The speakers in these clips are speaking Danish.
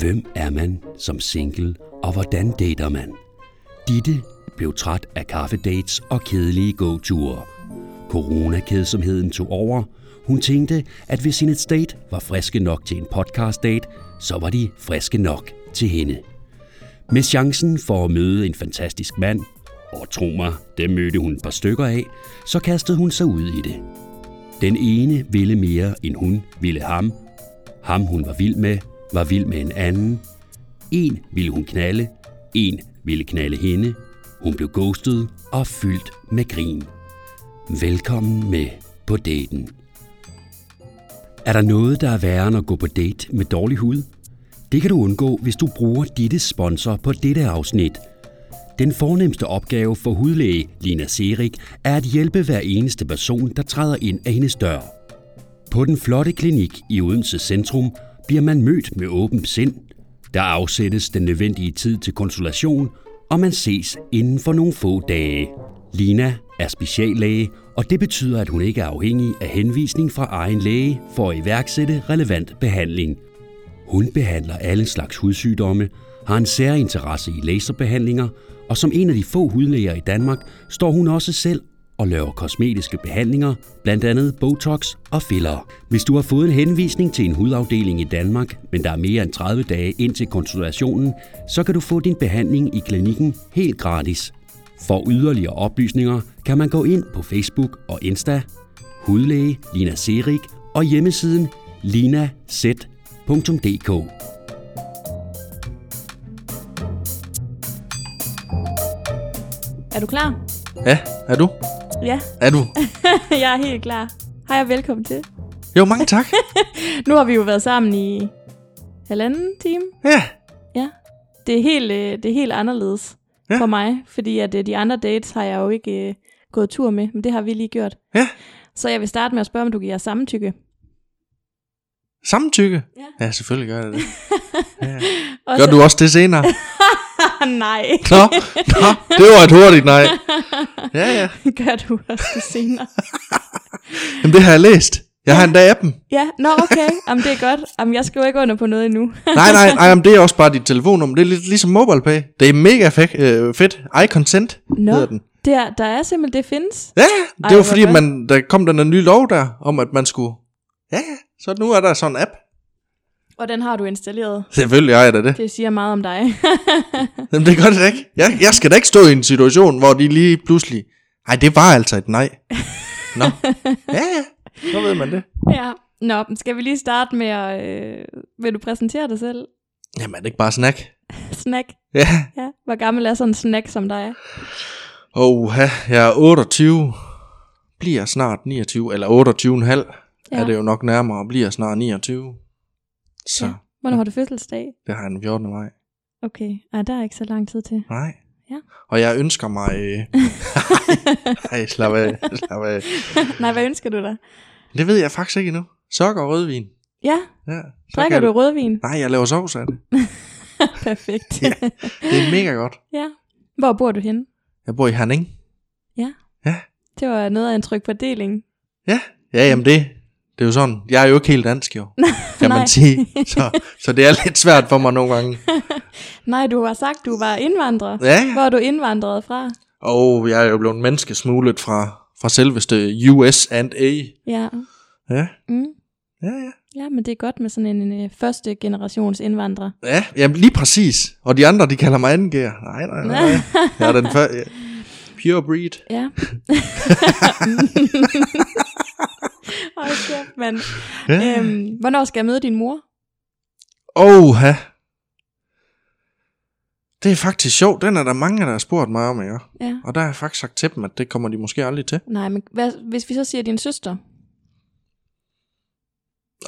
Hvem er man som single, og hvordan dater man? Ditte blev træt af kaffedates og kedelige gåture. Coronakedsomheden tog over. Hun tænkte, at hvis hendes date var friske nok til en podcastdate, så var de friske nok til hende. Med chancen for at møde en fantastisk mand, og tro mig, dem mødte hun et par stykker af, så kastede hun sig ud i det. Den ene ville mere, end hun ville ham. Ham hun var vild med, var vild med en anden. En ville hun knalde, en ville knalde hende. Hun blev ghostet og fyldt med grin. Velkommen med på daten. Er der noget, der er værre end at gå på date med dårlig hud? Det kan du undgå, hvis du bruger ditte sponsor på dette afsnit – den fornemmeste opgave for hudlæge Lina Serik er at hjælpe hver eneste person, der træder ind af hendes dør. På den flotte klinik i Odense Centrum bliver man mødt med åbent sind. Der afsættes den nødvendige tid til konsultation, og man ses inden for nogle få dage. Lina er speciallæge, og det betyder, at hun ikke er afhængig af henvisning fra egen læge for at iværksætte relevant behandling. Hun behandler alle slags hudsygdomme, har en særinteresse i laserbehandlinger, og som en af de få hudlæger i Danmark står hun også selv og laver kosmetiske behandlinger, blandt andet Botox og filler. Hvis du har fået en henvisning til en hudafdeling i Danmark, men der er mere end 30 dage ind til konsultationen, så kan du få din behandling i klinikken helt gratis. For yderligere oplysninger kan man gå ind på Facebook og Insta, hudlæge Lina Serik og hjemmesiden linaz.dk. Er du klar? Ja, er du? Ja, Er du? jeg er helt klar. Hej og velkommen til. Jo, mange tak. Nu har vi jo været sammen i halvanden time. Ja, Ja. Det er helt, øh, det er helt anderledes ja. Ja. for mig, fordi at øh, de andre dates har jeg jo ikke øh, gået tur med, men det har vi lige gjort. Ja. Så jeg vil starte med at spørge, om du giver samtykke. samtykke. Ja. Ja, selvfølgelig gør jeg det. Ja. Og Gør så- du også det senere? Nej, Nå, nå, det var et hurtigt nej. Ja, ja. gør du også det senere. Jamen, det har jeg læst. Jeg har endda appen. Ja, nå okay, Jamen, det er godt. Jamen, jeg skriver ikke under på noget endnu. Nej, nej, nej, jamen, det er også bare dit telefonnummer. Det er lidt ligesom MobilePay. Det er mega fe- øh, fedt. I consent Nå, hedder den. det er, der er simpelthen, det findes. Ja, Ej, det var hvor fordi, godt. man, der kom den der nye lov der, om at man skulle... Ja, ja, så nu er der sådan en app. Og den har du installeret. Selvfølgelig ejer jeg da det. Det siger meget om dig. Jamen, det gør det da ikke. Jeg, jeg skal da ikke stå i en situation, hvor de lige pludselig... Nej, det var altså et nej. Nå. Ja, ja. Så ved man det. ja. Nå, men skal vi lige starte med at... Øh, vil du præsentere dig selv? Jamen, er det ikke bare snak? Snack. Ja. Ja. Hvor gammel er sådan en snack som dig? Åh, jeg er 28. Bliver snart 29, eller 28,5 ja. Ja. er det jo nok nærmere. Bliver snart 29. Så, Ja. ja. Hvornår har du fødselsdag? det har jeg den 14. maj. Okay, Ej, der er ikke så lang tid til. Nej. Ja. Og jeg ønsker mig... Nej, slap af, slap af. Nej, hvad ønsker du dig? Det ved jeg faktisk ikke endnu. Sokker og rødvin. Ja, Ja, så drikker kan du jeg- rødvin? Nej, jeg laver sovs af det. Perfekt. Ja. Det er mega godt. ja. Hvor bor du henne? Jeg bor i Herning. Det var noget af en tryk på deling. Ja, ja jamen det, det er jo sådan. Jeg er jo ikke helt dansk jo, kan nej. man sige. Så, så det er lidt svært for mig nogle gange. Nej, du har sagt, du var indvandrer. Ja, ja. Hvor er du indvandret fra? Og jeg er jo blevet menneskesmuglet fra, fra selveste US and A. Ja. Ja, Mm. ja, ja. Ja, men det er godt med sådan en, en øh, første generations indvandrer. Ja, jamen lige præcis. Og de andre, de kalder mig anden gear. Nej, nej, nej. nej. Jeg er den første. Ja. Pure breed. Ja. Hold kæft, mand. Ja. Øhm, hvornår skal jeg møde din mor? Oh, ha. Det er faktisk sjovt. Den er der mange, der har spurgt mig om, ikke? Ja. Og der har jeg faktisk sagt til dem, at det kommer de måske aldrig til. Nej, men hvad, hvis vi så siger din søster?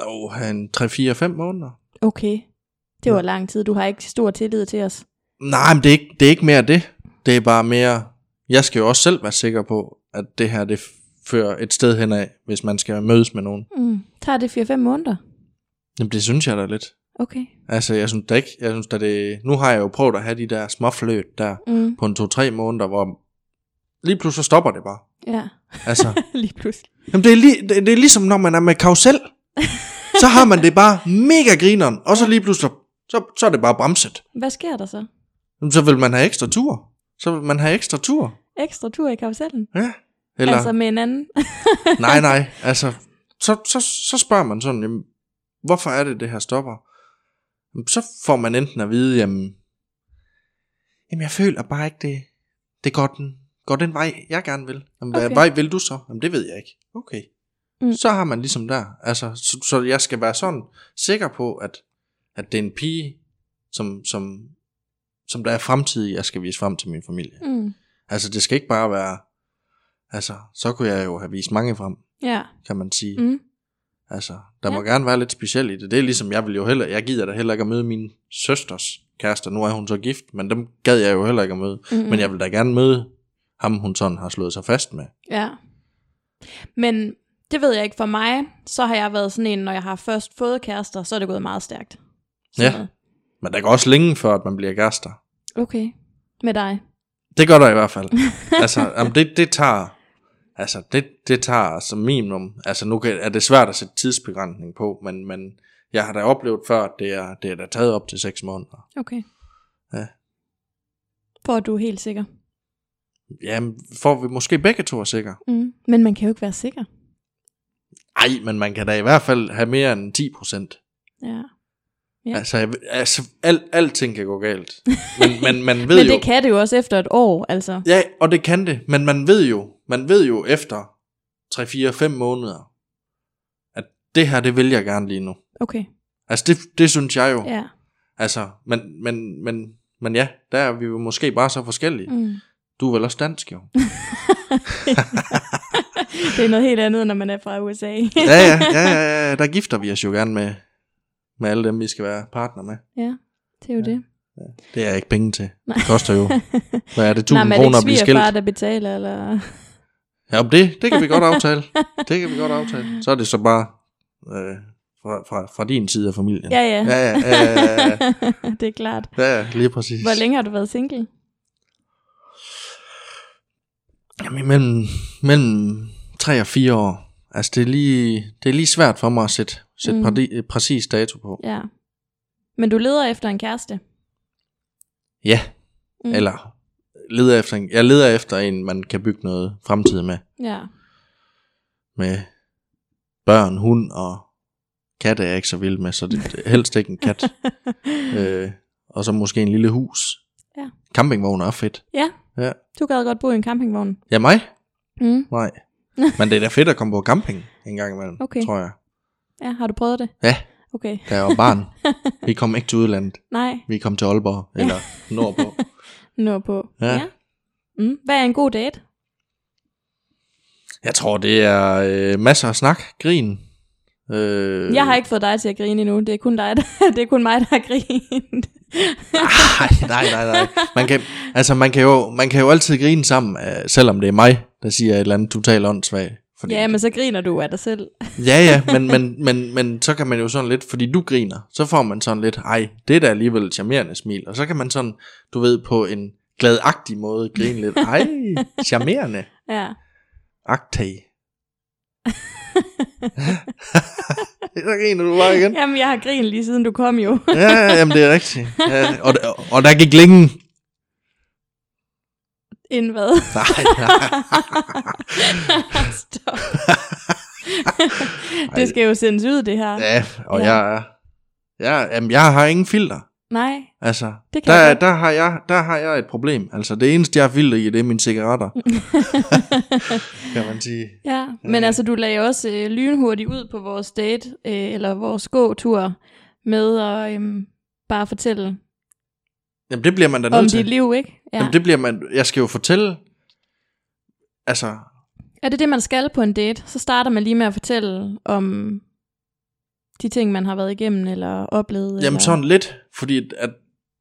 Åh, han 3-4-5 måneder. Okay. Det var lang tid. Du har ikke stor tillid til os. Nej, men det er, ikke, det er ikke mere det. Det er bare mere, jeg skal jo også selv være sikker på, at det her, det fører et sted henad, hvis man skal mødes med nogen. Mm. Tager det 4-5 måneder? Jamen, det synes jeg da lidt. Okay. Altså, jeg synes da ikke, jeg synes da det, nu har jeg jo prøvet at have de der småfløt der, Mm. på en 2-3 måneder, hvor lige pludselig så stopper det bare. Ja, Altså, lige pludselig. jamen det, er lige, det, det er ligesom, når man er med karusel, så har man det bare mega grineren, og så lige pludselig, så, så er det bare bremset. Hvad sker der så? Jamen, Så vil man have ekstra tur. Så vil man have ekstra tur. Ekstra tur i karusellen? Ja. Eller... Eller, Altså med en anden? nej, nej, altså, så, så, så spørger man sådan, jamen, hvorfor er det, det her stopper? Jamen, Så får man enten at vide, jamen, jamen jeg føler bare ikke, det, det går, den, går den vej, jeg gerne vil. Jamen, okay. Okay. hvad vej vil du så? Jamen, det ved jeg ikke. Okay. Mm. Mm. Så har man ligesom der, altså, så, så jeg skal være sådan sikker på, at, at det er en pige, som, som, som der er fremtidig, jeg skal vise frem til min familie. Mm. Altså, det skal ikke bare være, altså, så kunne jeg jo have vist mange frem Ja. kan man sige. Mm. Mm. Altså, der Ja. ja. må gerne være lidt specielt i det. Det er ligesom, jeg vil jo heller, jeg gider da heller ikke at møde min søsters kærester. Nu er hun så gift, men dem gad jeg jo heller ikke at møde. Mm. Mm-mm. Men jeg vil da gerne møde ham, hun sådan har slået sig fast med. Ja. Men det ved jeg ikke for mig, så har jeg været sådan en, når jeg har først fået kærester, så er det gået meget stærkt. Sådan Ja. noget. Men der går også længe før, at man bliver kærester. Okay. Med dig. Det gør der i hvert fald. altså, jamen det, det tager... Altså, det, det tager som minimum... Altså, nu kan, er det svært at sætte tidsbegrænsning på, men, men jeg har da oplevet før, at det er, det er da taget op til 6 måneder. Okay. Ja. For at du er helt sikker. Jamen, får vi måske begge to er sikre. Mm. Men man kan jo ikke være sikker. Ej, men man kan da i hvert fald have mere end 10 procent. Ja. Ja. Ja. Altså, jeg- altså al, alting kan gå galt. Men, men man ved Men jo... det kan det jo også efter et år, altså. Ja, og det kan det. Men man ved jo, man ved jo efter 3-4-5 måneder, at det her, det vil jeg gerne lige nu. Okay. Altså, det, det synes jeg jo. Ja. Ja. Altså, men, men, men, men ja, der er vi jo måske bare så forskellige. Mm. Mm. Du er vel også dansk, jo? Det er noget helt andet, når man er fra USA. ja, ja, ja, ja, ja, der gifter vi os jo gerne med, med alle dem, vi skal være partner med. ja, det er jo ja. det. Det er jeg ikke penge til. Nej. Det koster jo, hvad er det, 1000 Nej, men er det kroner at blive ikke skilt? svigerfar, der betaler, eller... Ja, om det, det kan vi godt aftale. Det kan vi godt aftale. Så er det så bare øh, fra, fra, fra din side af familien. Ja, ja. Ja, ja, ja, ja, ja, det er klart. ja, ja lige præcis. Hvor længe har du været single? Jamen, mellem, mellem 3 og 4 år. Altså, det er lige, det er lige svært for mig at sætte, sætte Mm. mm. prædi, præcis dato på. Ja. Men du leder efter en kæreste? Ja, Mm. mm. eller leder efter en, jeg leder efter en, man kan bygge noget fremtid med. Ja. Med børn, hund og katte er jeg ikke så vild med, så det, helst ikke en kat. øh, og så måske en lille hus. Ja. Campingvogn er fedt. Ja. Ja. Du gad godt bo i en campingvogn. Ja, mig? Mm. Nej. Men det er da fedt at komme på camping en gang imellem, Okay. tror jeg. Ja, har du prøvet det? Ja. Okay. Da jeg var barn. Vi kom ikke til udlandet. Nej, Vi kom til Aalborg, eller nordpå. nu på. Ja. Mm. Hvad er en god date? Jeg tror, det er øh, masser af snak, grin. Øh, Jeg har ikke fået dig til at grine endnu. Det er kun dig, der, det er kun mig, der har grinet. Nej, nej, nej, nej. Man kan, altså, man kan, jo, man kan jo altid grine sammen, øh, selvom det er mig, der siger et eller andet totalt åndssvagt. Fordi ja, men så griner du af dig selv. Ja, ja, men, men, men, men så kan man jo sådan lidt, fordi du griner, så får man sådan lidt, ej, det er da alligevel et charmerende smil, og så kan man sådan, du ved, på en gladagtig måde grine lidt, ej, charmerende, Ja. agtag. så griner du bare igen. Jamen, jeg har grinet lige siden du kom jo. Ja, jamen det er rigtigt. Ja, og, og der gik længe. Inden hvad? Nej, nej. Stop. det skal jo sendes ud, det her. Ja, og Ja. ja. jeg er, jeg, jamen, jeg har ingen filter. Nej, Altså, Det kan jeg der, godt. der, har jeg, der har jeg et problem. Altså, det eneste, jeg har vildt i, det er mine cigaretter. kan man sige. ja. Men altså, du lagde også øh, lynhurtigt ud på vores date, øh, eller vores gåtur, med at øhm, bare fortælle Jamen, det bliver man da om nødt til. dit liv, ikke? Ja. Jamen, det bliver man... Jeg skal jo fortælle... Altså, Er det det, man skal på en date? Så starter man lige med at fortælle om de ting, man har været igennem, eller oplevet. eller... jamen sådan lidt, fordi at- at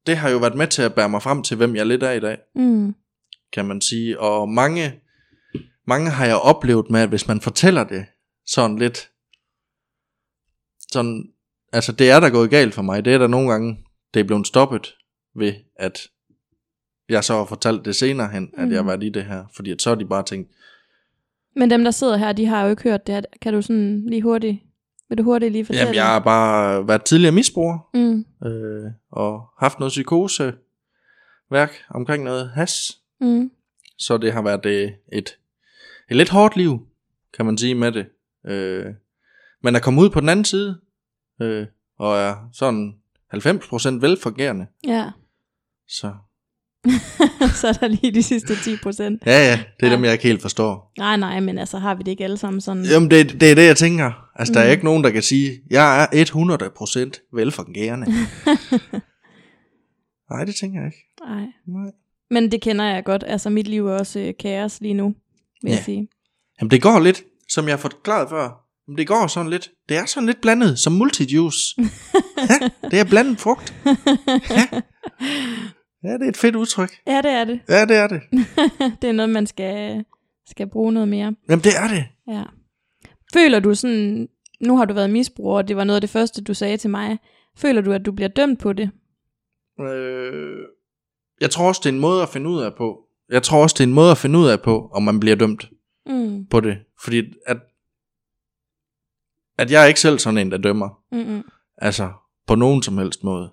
det har jo været med til at bære mig frem til, hvem jeg lidt er i dag, Mm. kan man sige. Og mange, mange har jeg oplevet med, at hvis man fortæller det sådan lidt, sådan, altså det er der gået galt for mig, det er der nogle gange, det er blevet stoppet ved, at jeg så har fortalt det senere hen, at jeg har Mhm. været i det her, fordi at så har de bare tænkt, Men dem, der sidder her, de har jo ikke hørt det her. Kan du sådan lige hurtigt Vil du hurtigt lige fortælle? Jamen, jeg har bare været tidligere misbruger, Mm, øh, og haft noget psykoseværk omkring noget has. mm, Så det har været øh, et, et lidt hårdt liv, kan man sige med det. Øh, men at komme ud på den anden side, øh, og er sådan 90% velfungerende, ja. så så er der lige de sidste 10 procent. ja, ja, det er Ja. dem, jeg ikke helt forstår. Nej, nej, men altså har vi det ikke alle sammen sådan? Jamen, det, det er det, jeg tænker. Altså, der er Mm. ikke nogen, der kan sige, jeg er 100% velfungerende. Nej, det tænker jeg ikke. Nej. Nej. Men det kender jeg godt. Altså mit liv er også øh, kaos lige nu, vil Ja. jeg sige. Jamen det går lidt, som jeg forklarede før. Jamen det går sådan lidt. Det er sådan lidt blandet, som multijuice. ja, det er blandet frugt. Ja. ja, det er et fedt udtryk. Ja, det er det. Ja, det er det. det er noget, man skal, skal bruge noget mere. Jamen det er det. Ja. Føler du sådan, nu har du været misbruger, og det var noget af det første, du sagde til mig. Føler du, at du bliver dømt på det? Øh, jeg tror også, det er en måde at finde ud af på. Jeg tror også, det er en måde at finde ud af på, om man bliver dømt Mm. på det. Fordi at, at jeg er ikke selv sådan en, der dømmer. Mm-mm. Altså, på nogen som helst måde.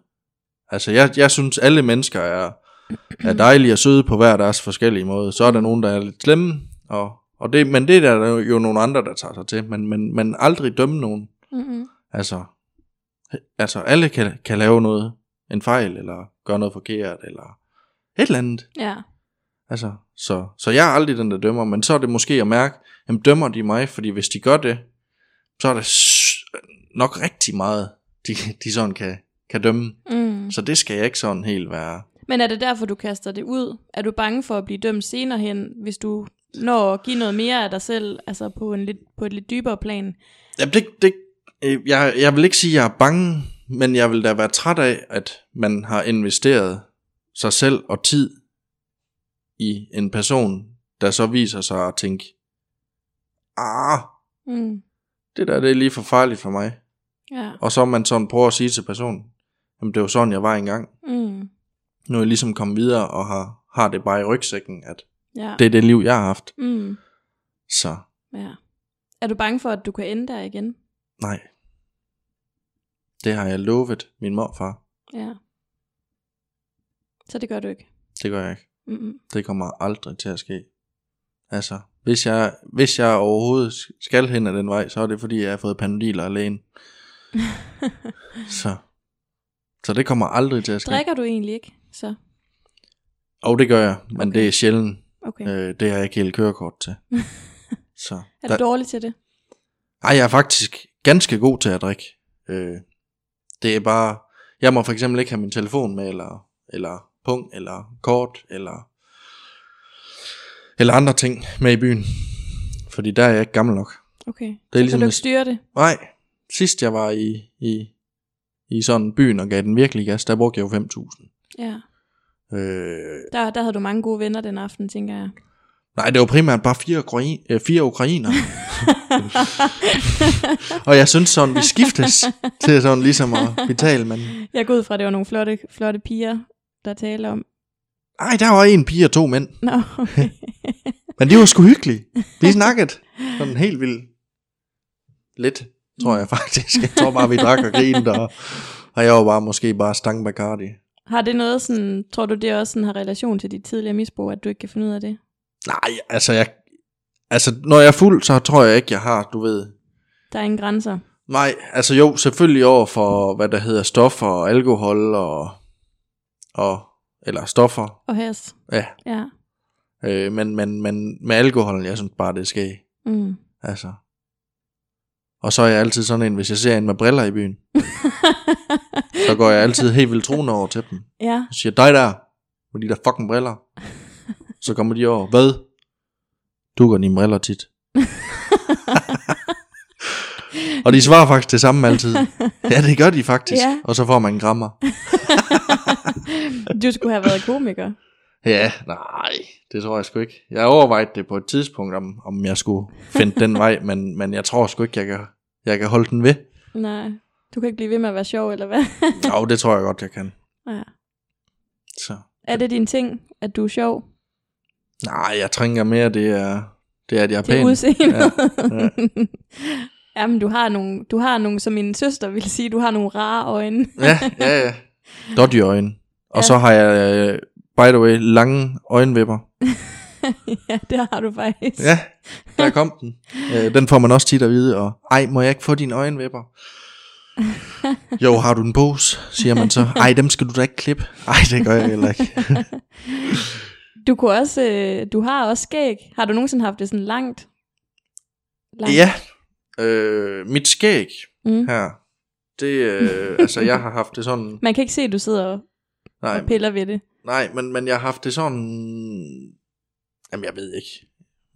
Altså, jeg, jeg synes, alle mennesker er, er dejlige og søde på hver deres forskellige måde. Så er der nogen, der er lidt slemme, og, og det, men det er der jo nogle andre, der tager sig til. Men, men, men aldrig dømme nogen. Mm-mm. Altså, altså alle kan, kan lave noget, en fejl, eller gøre noget forkert, eller et eller andet. Ja. Altså, så, så jeg er aldrig den, der dømmer, men så er det måske at mærke, jamen dømmer de mig, fordi hvis de gør det, så er der s- nok rigtig meget, de, de sådan kan, kan dømme. Mm. Så det skal jeg ikke sådan helt være. Men er det derfor, du kaster det ud? Er du bange for at blive dømt senere hen, hvis du når at give noget mere af dig selv, altså på, en lidt, på et lidt dybere plan? Jamen det, det øh, jeg, jeg vil ikke sige, at jeg er bange, men jeg vil da være træt af, at man har investeret sig selv og tid i en person, der så viser sig at tænke, ah, Mm. det der det er lige for farligt for mig. Ja. Og så man sådan prøver at sige til personen, jamen det var sådan, jeg var engang. Mm. Nu er jeg ligesom kommet videre og har, har det bare i rygsækken, at Ja. det er det liv, jeg har haft. Mm. Så ja. Er du bange for, at du kan ende der igen? nej. Det har jeg lovet min morfar. Ja. Så det gør du ikke. Det gør jeg ikke. Mm-mm. Det kommer aldrig til at ske. Altså, hvis jeg, hvis jeg overhovedet skal hen ad den vej, så er det fordi, jeg har fået panodiler alene. så. så det kommer aldrig til at ske. Drikker du egentlig ikke? Så, Og det gør jeg, men Okay. det er sjældent. okay. Øh, det har jeg ikke helt kørekort til. så. er der- du dårlig til det? Ej, jeg er faktisk ganske god til at drikke. Øh, det er bare, jeg må for eksempel ikke have min telefon med, eller, eller pung, eller kort, eller, eller andre ting med i byen. Fordi der er jeg ikke gammel nok. Okay. Det er så ligesom kan du hvis- ikke styre det? Nej, sidst jeg var i, i, i sådan byen og gav den virkelig gas, der brugte jeg jo 5.000. Ja. Øh, Der, der havde du mange gode venner den aften, tænker jeg. nej, det var primært bare fire, ukrain, øh, fire ukrainer. og jeg synes sådan, vi skiftes til sådan ligesom at betale, men Jeg går ud fra, at det var nogle flotte, flotte piger, der taler om. Ej, der var en pige og to mænd. Nå, okay. Men det var sgu hyggeligt. Vi snakkede sådan helt vildt. Lidt, tror jeg faktisk. Jeg tror bare, vi drak og grinede, og, og jeg var bare måske bare stang Bacardi. Har det noget sådan, tror du det også sådan har relation til dit tidligere misbrug, at du ikke kan finde ud af det? Nej, altså jeg... Altså, når jeg er fuld, så tror jeg ikke, jeg har, du ved... Der er ingen grænser. Nej, altså jo, selvfølgelig over for, hvad der hedder stoffer og alkohol og... og eller stoffer, Og has. ja. Ja. Øh, men, men, men med alkoholen, jeg synes bare, det skal Mm. Altså. Og så er jeg altid sådan en, hvis jeg ser en med briller i byen, så går jeg altid helt vildt troende over til dem. ja. Jeg siger, dig der, med de der fucking briller. Så kommer de over, hvad? Du går dine briller tit. og de svarer faktisk det samme altid. Ja, det gør de faktisk. Ja. Og så får man en grammer. Du skulle have været komiker. Ja, nej, det tror jeg sgu ikke. Jeg overvejede det på et tidspunkt, om, om jeg skulle finde den vej, men, men jeg tror sgu ikke, jeg kan, jeg kan holde den ved. Nej. Du kan ikke blive ved med at være sjov, eller hvad? Jo, det tror jeg godt, jeg kan. Ja. Så. Er det din ting, at du er sjov? Nej, jeg tænker mere, det er, det er, at jeg er Det er pæn. udseendet. Ja, ja. Jamen, du har nogle, du har nogle, som min søster ville sige, du har nogle rare øjne. Ja, ja, ja. Dodgy øjne. Og Ja. så har jeg, øh, by the way, lange øjenvipper. ja, det har du faktisk. Ja, der kom den. Øh, den får man også tit at vide, og ej, må jeg ikke få dine øjenvipper? Jo, har du en pose, siger man så. Ej, dem skal du da ikke klippe. Ej, det gør jeg heller ikke. Du, kunne også, øh, du har også skæg. Har du nogensinde haft det sådan langt? langt? Ja, øh, mit skæg Mm. her, det, øh, altså jeg har haft det sådan, Man kan ikke se, at du sidder og, nej, og piller ved det. nej men, men jeg har haft det sådan, jamen jeg ved ikke.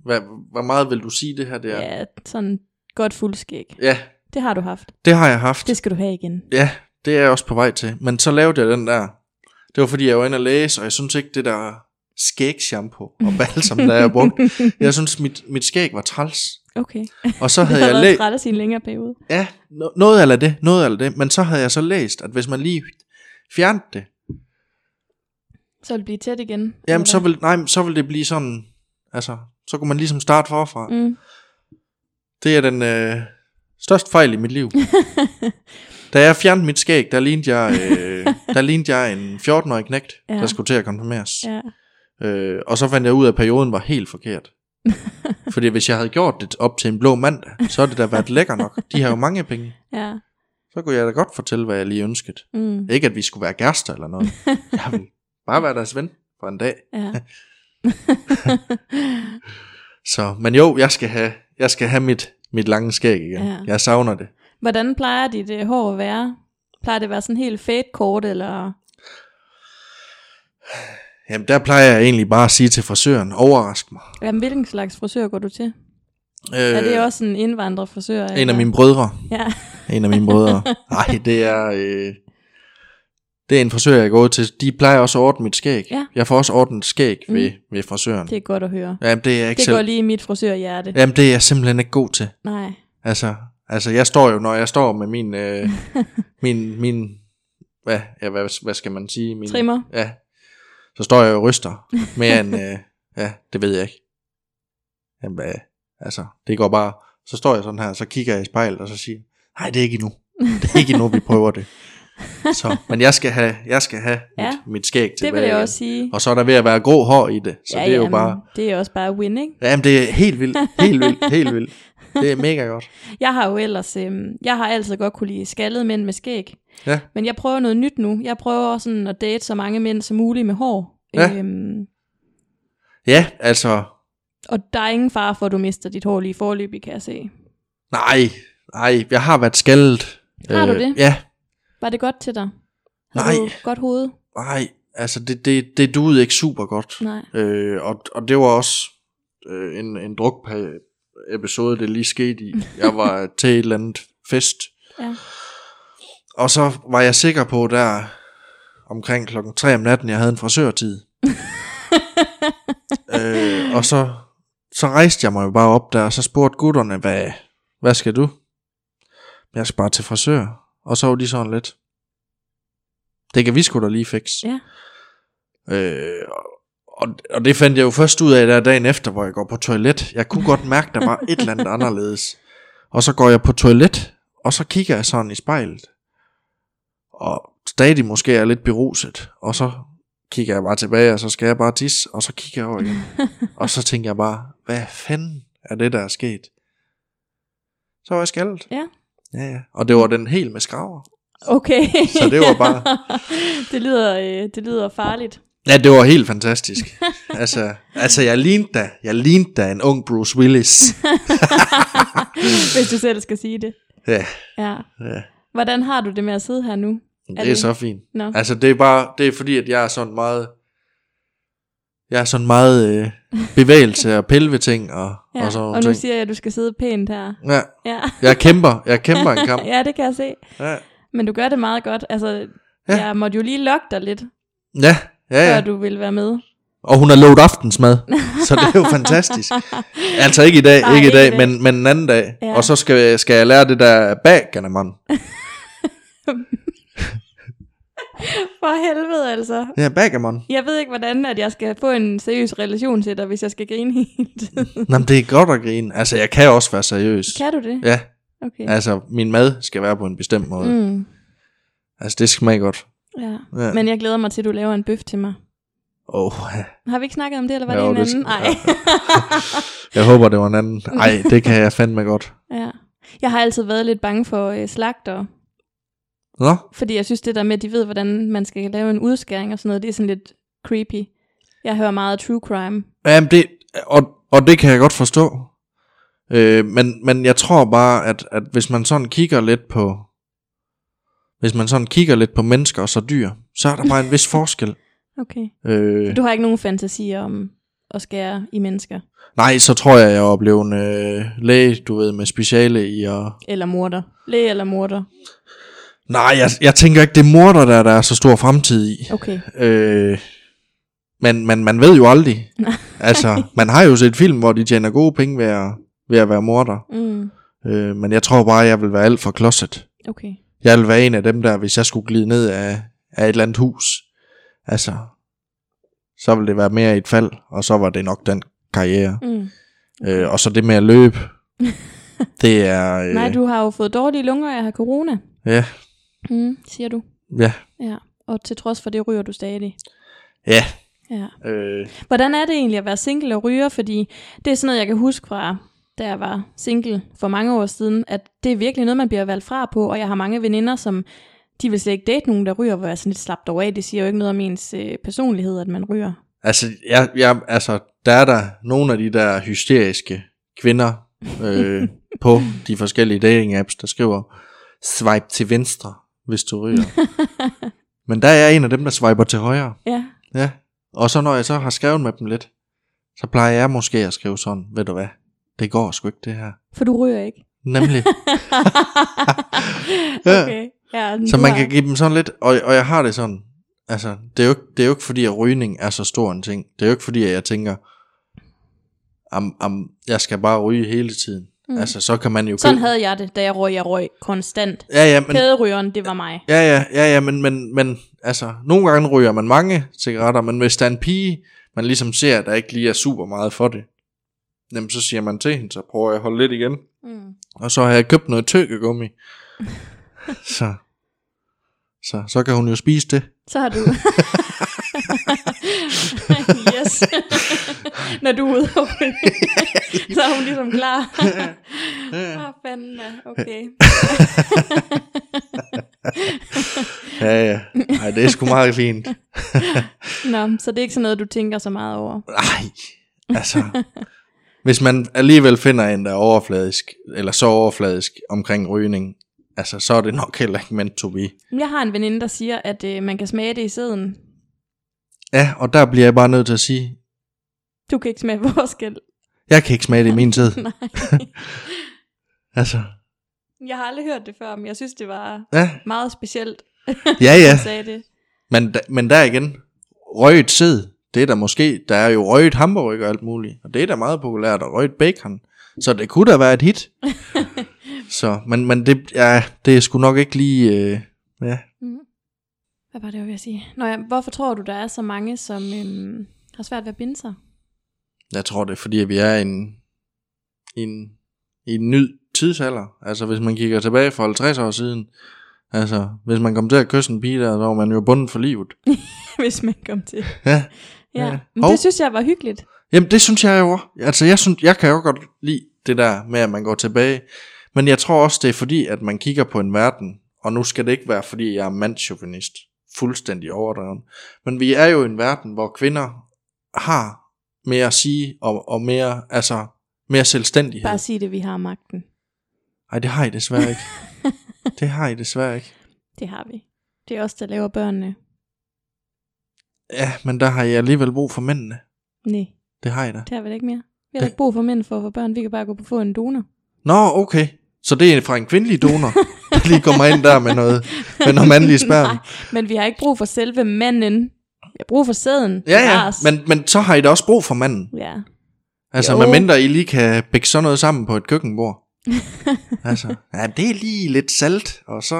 Hvad, hvor meget vil du sige det her der? Ja, sådan godt fuld skæg. Ja, Det har du haft. det har jeg haft. Det skal du have igen. Ja, det er jeg også på vej til. Men så lavede jeg den der. Det var fordi, jeg var inde og læse, og jeg synes ikke, det der skægshampoo og balsam, der jeg brugte. Jeg synes, mit, mit skæg var træls. Okay. Og så Det havde har jeg været læst... træt af sin længere periode. Ja, no- noget eller det, noget eller det. Men så havde jeg så læst, at hvis man lige fjernede det, Så vil det blive tæt igen. jamen så vil, nej, men så vil det blive sådan... Altså, så kunne man ligesom starte forfra. Mm. Det er den øh, største fejl i mit liv. da jeg fjernede mit skæg, der lignede jeg, øh, der lignede jeg en 14-årig knægt, Ja. ja. der skulle til at konfirmeres. Ja. Øh, og så fandt jeg ud af, at perioden var helt forkert. Fordi hvis jeg havde gjort det op til en blå mandag, så havde det da været lækker nok. De har jo mange penge. Ja. Så kunne jeg da godt fortælle, hvad jeg lige ønskede. Mm. Ikke at vi skulle være gærster eller noget. Jeg ville bare være deres ven for en dag. ja. Så, men jo, jeg skal have, jeg skal have mit, mit lange skæg igen. Ja. Ja. Jeg savner det. Hvordan plejer dit øh, hår at være? Plejer det at være sådan helt fade kort, eller... Jamen, der plejer jeg egentlig bare at sige til frisøren, overrask mig. Jamen, hvilken slags frisør går du til? Øh, Er det også en indvandrerfrisør? en eller? af mine brødre. Ja. En af mine brødre. Nej, det er... Øh, det er en frisør, jeg går til. De plejer også at ordne mit skæg. Ja. Mm. Jeg får også ordnet skæg ved, ved frisøren. Det er godt at høre. Jamen, det er jeg ikke Det selv... går lige i mit frisørhjerte. Jamen, det er jeg simpelthen ikke god til. Nej. Altså, altså jeg står jo, når jeg står med min... Øh, min, min hvad, ja, hvad, hvad skal man sige? Min, Trimmer. Ja. Så står jeg jo og ryster. Mere end... Øh, ja, det ved jeg ikke. Jamen, hvad, altså, det går bare... Så står jeg sådan her, så kigger jeg i spejlet, og så siger nej, det er ikke endnu. Det er ikke endnu, vi prøver det. Så, men jeg skal have, jeg skal have ja, Ja, mit, mit skæg tilbage. Det vil jeg igen. også sige. Og så er der ved at være grå hår i det, så ja, det er jo jamen, bare... det er også bare win, ikke? Jamen, det er helt vildt, helt vildt, helt vildt. Det er mega godt. Jeg har jo ellers, øhm, jeg har altid godt kunne lide skaldede mænd med skæg. Ja. Men jeg prøver noget nyt nu. Jeg prøver sådan at date så mange mænd som muligt med hår. Ja. Øhm, Ja, altså, og der er ingen far for, at du mister dit hår lige forløbig, kan jeg se. nej, nej, jeg har været skaldet. Øh, Har du det? Ja, Var det godt til dig? Har Nej. du godt hoved? nej, altså det, det, det duede ikke super godt. Nej. Øh, og, og det var også øh, en, en druk-episode, det lige skete i. Jeg var til et eller andet fest, Ja. og så var jeg sikker på der omkring klokken 3 om natten, jeg havde en frisørtid. øh, og så, så rejste jeg mig jo bare op der, og så spurgte gutterne, hvad, hvad skal du? Jeg skal bare til frisør. Og så var de sådan lidt, det kan vi sgu da lige fikse. Ja. Øh, og, og det fandt jeg jo først ud af der dagen efter, hvor jeg går på toilet. Jeg kunne godt mærke, der var et eller andet anderledes. Og så går jeg på toilet, og så kigger jeg sådan i spejlet. Og stadig måske er jeg lidt beruset. Og så kigger jeg bare tilbage, og så skal jeg bare tisse, og så kigger jeg over igen. og så tænker jeg bare, hvad fanden er det, der er sket? Så var jeg skaldet. Ja. Ja, ja. Og det var den helt med skraver. Okay. Så det var bare- det, lyder, øh, det lyder farligt. Ja, det var helt fantastisk. altså, altså jeg lignede da, jeg lignede da en ung Bruce Willis. Hvis du selv skal sige det. Ja, Ja. ja. Hvordan har du det med at sidde her nu? Det Er er, det- så fint. Nå. Altså det er bare, det er fordi, at jeg er sådan meget, jeg er sådan meget øh, bevægelse og pille ved ting og, Ja. og sådan og nogle nu ting. siger jeg, at du skal sidde pænt her. Ja, Ja. jeg kæmper, jeg kæmper en kamp. ja, det kan jeg se. Ja, Men du gør det meget godt. Altså, ja. Ja. jeg måtte jo lige lokke dig lidt, ja, ja. før ja. du ville være med. Og hun har lovet aftensmad, så det er jo fantastisk. Altså ikke i dag, Nej, ikke i ikke i dag, dag. men, men en anden dag. Ja. Og så skal, jeg- skal jeg lære det der baggernemang. For helvede altså. Ja, baggernemang. Jeg ved ikke, hvordan at jeg skal få en seriøs relation til dig, hvis jeg skal grine hele tiden. Nå, men det er godt at grine. Altså, jeg kan også være seriøs. Kan du det? Ja, Okay. Altså, min mad skal være på en bestemt måde. Mm. mm, Altså, det smager godt. ja. Ja. Men jeg glæder mig til, at du laver en bøf til mig. Oh, Har vi ikke snakket om det, eller var Jo, det en det anden? skal- Nej. jeg håber, det var en anden. Ej, det kan jeg fandme godt. ja. Jeg har altid været lidt bange for øh, slagter, Nå, fordi jeg synes det der med, at de ved, hvordan man skal lave en udskæring og sådan noget, det er sådan lidt creepy. Jeg hører meget true crime. Jamen det, og, og det kan jeg godt forstå. Øh, men, men jeg tror bare, at, at hvis man sådan kigger lidt på, hvis man sådan kigger lidt på mennesker og så dyr, så er der bare en vis forskel. Okay. Øh, Du har ikke nogen fantasier om at skære i mennesker, nej, så tror jeg, jeg var blevet en øh, læge, du ved, med speciale i og... eller morder. Læge eller morder. Nej, jeg, jeg tænker ikke, det er morder, der, der er så stor fremtid i. Okay. Øh, men, men man ved jo aldrig. Nej. Altså, man har jo set film, hvor de tjener gode penge ved at, ved at være morder. Mm, Øh, men jeg tror bare, jeg vil være alt for klodset. okay. Jeg ville være en af dem der, hvis jeg skulle glide ned af, af et eller andet hus. Altså, så ville det være mere et fald, og så var det nok den karriere. Mm. Øh, og så det med at løbe, det er... Øh, Nej, du har jo fået dårlige lunger, og jeg har corona, Ja, mm, siger du. ja, Ja. Og til trods for det ryger du stadig. ja. Ja. Øh, Hvordan er det egentlig at være single og ryger? Fordi det er sådan noget, jeg kan huske fra, da jeg var single for mange år siden, at det er virkelig noget, man bliver valgt fra på, og jeg har mange veninder, som de vil slet ikke date nogen, der ryger, hvor jeg er sådan lidt slappet over af. Det siger jo ikke noget om ens øh, personlighed, at man ryger. altså, jeg, jeg, altså, der er der nogle af de der hysteriske kvinder øh, på de forskellige dating apps, der skriver, swipe til venstre, hvis du ryger. Men der er jeg en af dem, der swiper til højre. Ja, Ja, og så når jeg så har skrevet med dem lidt, så plejer jeg måske at skrive sådan, ved du hvad, det går sgu ikke det her. for du ryger ikke. Nemlig, Ja. okay. Ja, så du man har- kan give dem sådan lidt, og, og jeg har det sådan, altså, det er, jo ikke, det er jo ikke fordi, at rygning er så stor en ting. Det er jo ikke fordi, at jeg tænker, am, am, jeg skal bare ryge hele tiden. Mm. Altså, så kan man jo Sådan købe- havde jeg det, da jeg røg. Jeg røg konstant. Ja, ja, men, Kæderygeren, det var mig. Ja, ja, ja, ja, men, men, men altså, nogle gange ryger man mange cigaretter, men hvis der er en pige, man ligesom ser, der ikke lige er super meget for det, jamen så siger man til hende, så prøver jeg at holde lidt igen. Mm. Og så har jeg købt noget tykkegummi. så, så, så kan hun jo spise det. Så har du... yes. Når du er ude og så er hun ligesom klar. Åh, oh, fanden da. Okay. Ja, ja. Ej, det er sgu meget fint. Nå, så det er ikke sådan noget, du tænker så meget over. Nej, altså... Hvis man alligevel finder en, der er overfladisk, eller så overfladisk omkring rygning, altså så er det nok heller ikke meant to be. Men Jeg har en veninde, der siger, at øh, man kan smage det i sæden. Ja, og der bliver jeg bare nødt til at sige, Du kan ikke smage forskel. jeg kan ikke smage det i min tid. Nej. Altså, Jeg har aldrig hørt det før, men jeg synes, det var ja, meget specielt, ja, at ja. du sagde det. Men, da- men der igen, røget sæd, det er der måske, der er jo røget hamburger og alt muligt, og det er da meget populært, og røget bacon, så det kunne da være et hit. så, men, men det, ja, det er sgu nok ikke lige, øh, ja, Mhm. Hvad var det, jeg ville sige? Nå ja, hvorfor tror du, der er så mange, som øhm, har svært ved at binde sig? jeg tror det er fordi, at vi er i en, i en, i en ny tidsalder. Altså hvis man kigger tilbage for 50 år siden, altså hvis man kom til at kysse en pige der, så var man jo bundet for livet. Hvis man kom til. Ja, Ja, Ja. men Hov. det synes jeg var hyggeligt. Jamen det synes jeg jo også. Altså jeg, synes, jeg kan jo godt lide det der med, at man går tilbage. Men jeg tror også, det er fordi, at man kigger på en verden, og nu skal det ikke være, fordi jeg er mandsjuvenist. Fuldstændig overdreven. Men vi er jo i en verden, hvor kvinder har mere at sige, og, og mere, altså, mere selvstændighed. Bare sig det, vi har magten. Nej, det har I desværre ikke. det har I desværre ikke. Det har vi. Det er os, der laver børnene. Ja, men der har I alligevel brug for mændene. Nej, Det har I da. det har vi da ikke mere. Vi har da ikke brug for mænd for at få børn. Vi kan bare gå på få en donor. Nå, okay. Så det er fra en kvindelig donor, der lige kommer ind der med noget, med noget mandlige sperm. Nej, men vi har ikke brug for selve manden. Vi har brug for sæden. Ja, Det er ja, os. men, men så har I da også brug for manden. Ja, Altså, Jo. jo. medmindre I lige kan bække sådan noget sammen på et køkkenbord. altså, ja, det er lige lidt salt, og så,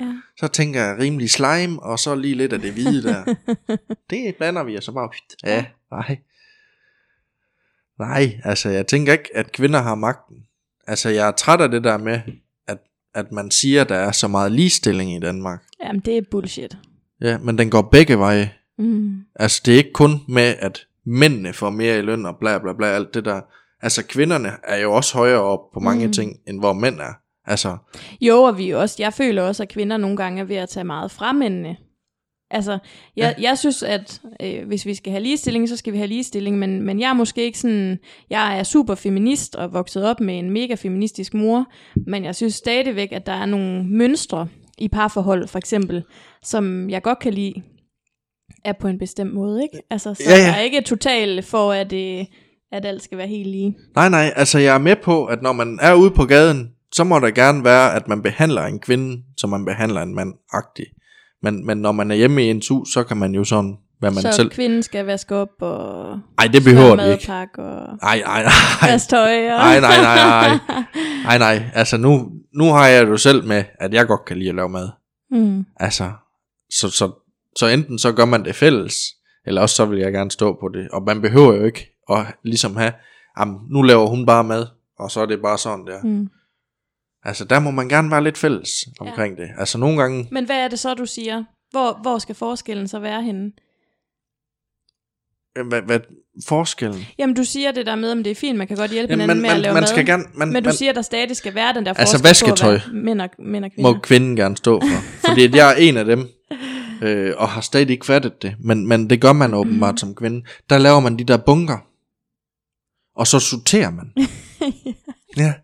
Ja. ja. så tænker jeg rimelig slime, og så lige lidt af det hvide der. det blander vi, og så bare, ja, nej. Nej, altså, jeg tænker ikke, at kvinder har magten. Altså, jeg er træt af det der med, at at man siger, at der er så meget ligestilling i Danmark. Jamen, det er bullshit. Ja, men den går begge veje. Mm. Altså, det er ikke kun med, at mændene får mere i løn og bla bla bla, alt det der. Altså, kvinderne er jo også højere op på mange mm. ting, end hvor mænd er. Altså, Jo, og vi er også, jeg føler også, at kvinder nogle gange er ved at tage meget fra mændene. Altså, jeg, ja. jeg synes, at øh, hvis vi skal have ligestilling, så skal vi have ligestilling, men, men jeg er måske ikke sådan, jeg er super feminist og vokset op med en mega feministisk mor, men jeg synes stadigvæk, at der er nogle mønstre i parforhold, for eksempel, som jeg godt kan lide, er på en bestemt måde, ikke? Altså, så Ja, ja. jeg er ikke total for, at, øh, at alt skal være helt lige. nej nej, altså jeg er med på, at når man er ude på gaden, så må der gerne være, at man behandler en kvinde, som man behandler en mand agtig. Men, men når man er hjemme i ens hus, så kan man jo sådan, hvad man så selv... kvinden skal vaske op og... Ej, det behøver Smøre det ikke. madpakke og Ej, ej, ej. vaske tøj. Og... Nej, nej, nej, nej. Nej, nej. Altså, nu, nu har jeg det jo selv med, at jeg godt kan lide at lave mad. Mm. Altså, så, så, så enten så gør man det fælles, eller også så vil jeg gerne stå på det. Og man behøver jo ikke at ligesom have, jamen, nu laver hun bare mad, og så er det bare sådan der. Mm. Mm. Altså, der må man gerne være lidt fælles omkring ja. det. Altså, nogle gange, Men hvad er det så, du siger? Hvor, hvor skal forskellen så være henne? øh, hvad, hvad forskellen? Jamen, du siger det der med, om det er fint, man kan godt hjælpe Jamen, hinanden man, med at man, lave man mad. skal gerne, man, men du man siger, der stadig skal være den der Altså, forskel vasketøj. på, hvad mænd og, mænd og kvinder. må kvinden gerne stå for. Fordi at jeg er en af dem, øh, og har stadig ikke fattet det. Men, men det gør man åbenbart Mm. som kvinde. Der laver man de der bunker, og så sorterer man. ja.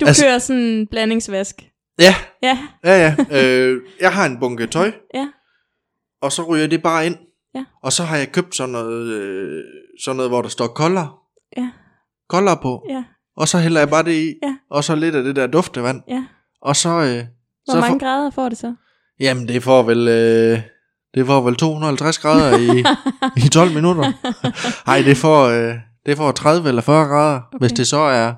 Du altså... altså- kører sådan en blandingsvask. Ja, Ja, ja, ja. Øh, jeg har en bunke tøj, ja. og så ryger det bare ind. Ja. Og så har jeg købt sådan noget, øh, sådan noget hvor der står kolder, Ja, kolder på. ja, Og så hælder jeg bare det i, Ja. og så lidt af det der duftevand. ja. Og så... Øh, Hvor så mange får- grader får det så? Jamen, det får vel... Øh, det får vel 250 grader i, i 12 minutter. Nej, det får, øh, det får 30 eller 40 grader, okay. hvis det så er,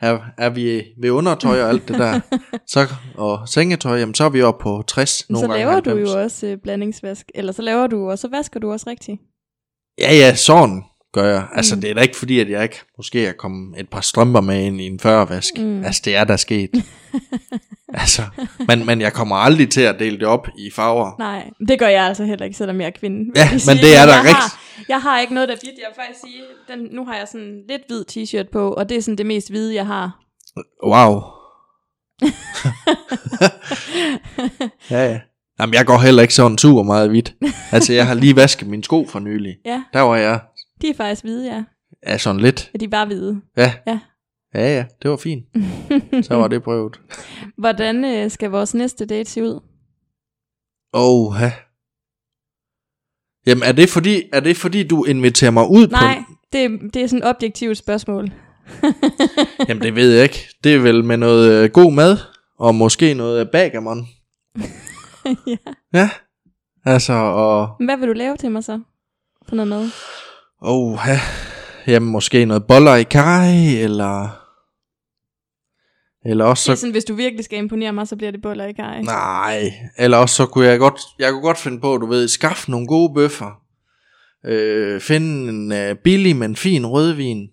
er, er vi ved undertøj og alt det der. Så, og sengetøj, jamen, så er vi oppe på 60 Men nogle så gange. laver du 90. jo også øh, blandingsvask. Eller så laver du, og så vasker du også rigtigt. Ja, ja, sådan gør jeg. Altså, det er da ikke fordi, at jeg ikke måske er kommet et par strømper med ind i en 40-vask. Mm. Altså, det er der sket. altså, men, men jeg kommer aldrig til at dele det op i farver. Nej, det gør jeg altså heller ikke, selvom jeg er kvinde. vil Ja, jeg men sige. det er da jeg rigtigt. Har, jeg har ikke noget, der bliver. Jeg vil faktisk sige, den, nu har jeg sådan lidt hvid t-shirt på, og det er sådan det mest hvide, jeg har. Wow. ja, ja. Jamen, jeg går heller ikke sådan super meget hvidt. Altså, jeg har lige vasket mine sko for nylig. Ja, Der var jeg de er faktisk hvide, ja. ja, sådan lidt. Og de er bare hvide. Ja. Ja. ja, ja, det var fint. Så var det prøvet. Hvordan øh, skal vores næste date se ud? Åh, ja. Jamen, er det, fordi, er det fordi, du inviterer mig ud Nej, på... det, det er sådan et objektivt spørgsmål. Jamen, det ved jeg ikke. Det er vel med noget øh, god mad, og måske noget øh, bagermon. ja. Ja, altså, og... Men Hvad vil du lave til mig så? For noget mad? Åh, ja. jamen måske noget boller i kaj, eller... Eller også Så... så... Sådan, hvis du virkelig skal imponere mig, så bliver det boller i kaj. Nej, eller også så kunne jeg godt... Jeg kunne godt finde på, du ved, skaffe nogle gode bøffer. Øh, finde en øh, billig, men fin rødvin.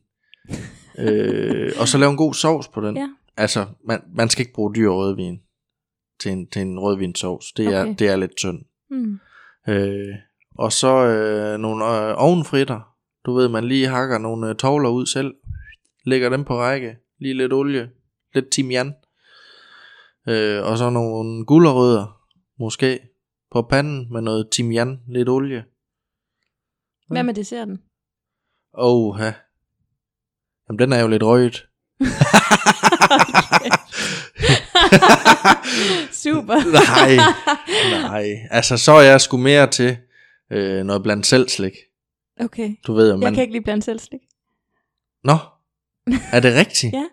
øh, og så lave en god sovs på den. Ja. Altså, man, man skal ikke bruge dyr rødvin til en, til en rødvinsovs. Det er, Okay. okay. det er lidt tyndt. Mm. Øh, og så øh, nogle øh, ovenfritter. Du ved, man lige hakker nogle øh, tovler ud selv. Lægger dem på række. Lige lidt olie. Lidt timian. Øh, og så nogle gulerødder. Måske. På panden med noget timian. Lidt olie. Hvad med desserten? Åh, ja. Jamen, den er jo lidt røget. Super. Nej. Nej. Altså, så er jeg sgu mere til øh, noget blandt selv slik. Okay. Du ved, at Jeg man... kan ikke lide blandt selv slik. Nå, er det rigtigt? Ja.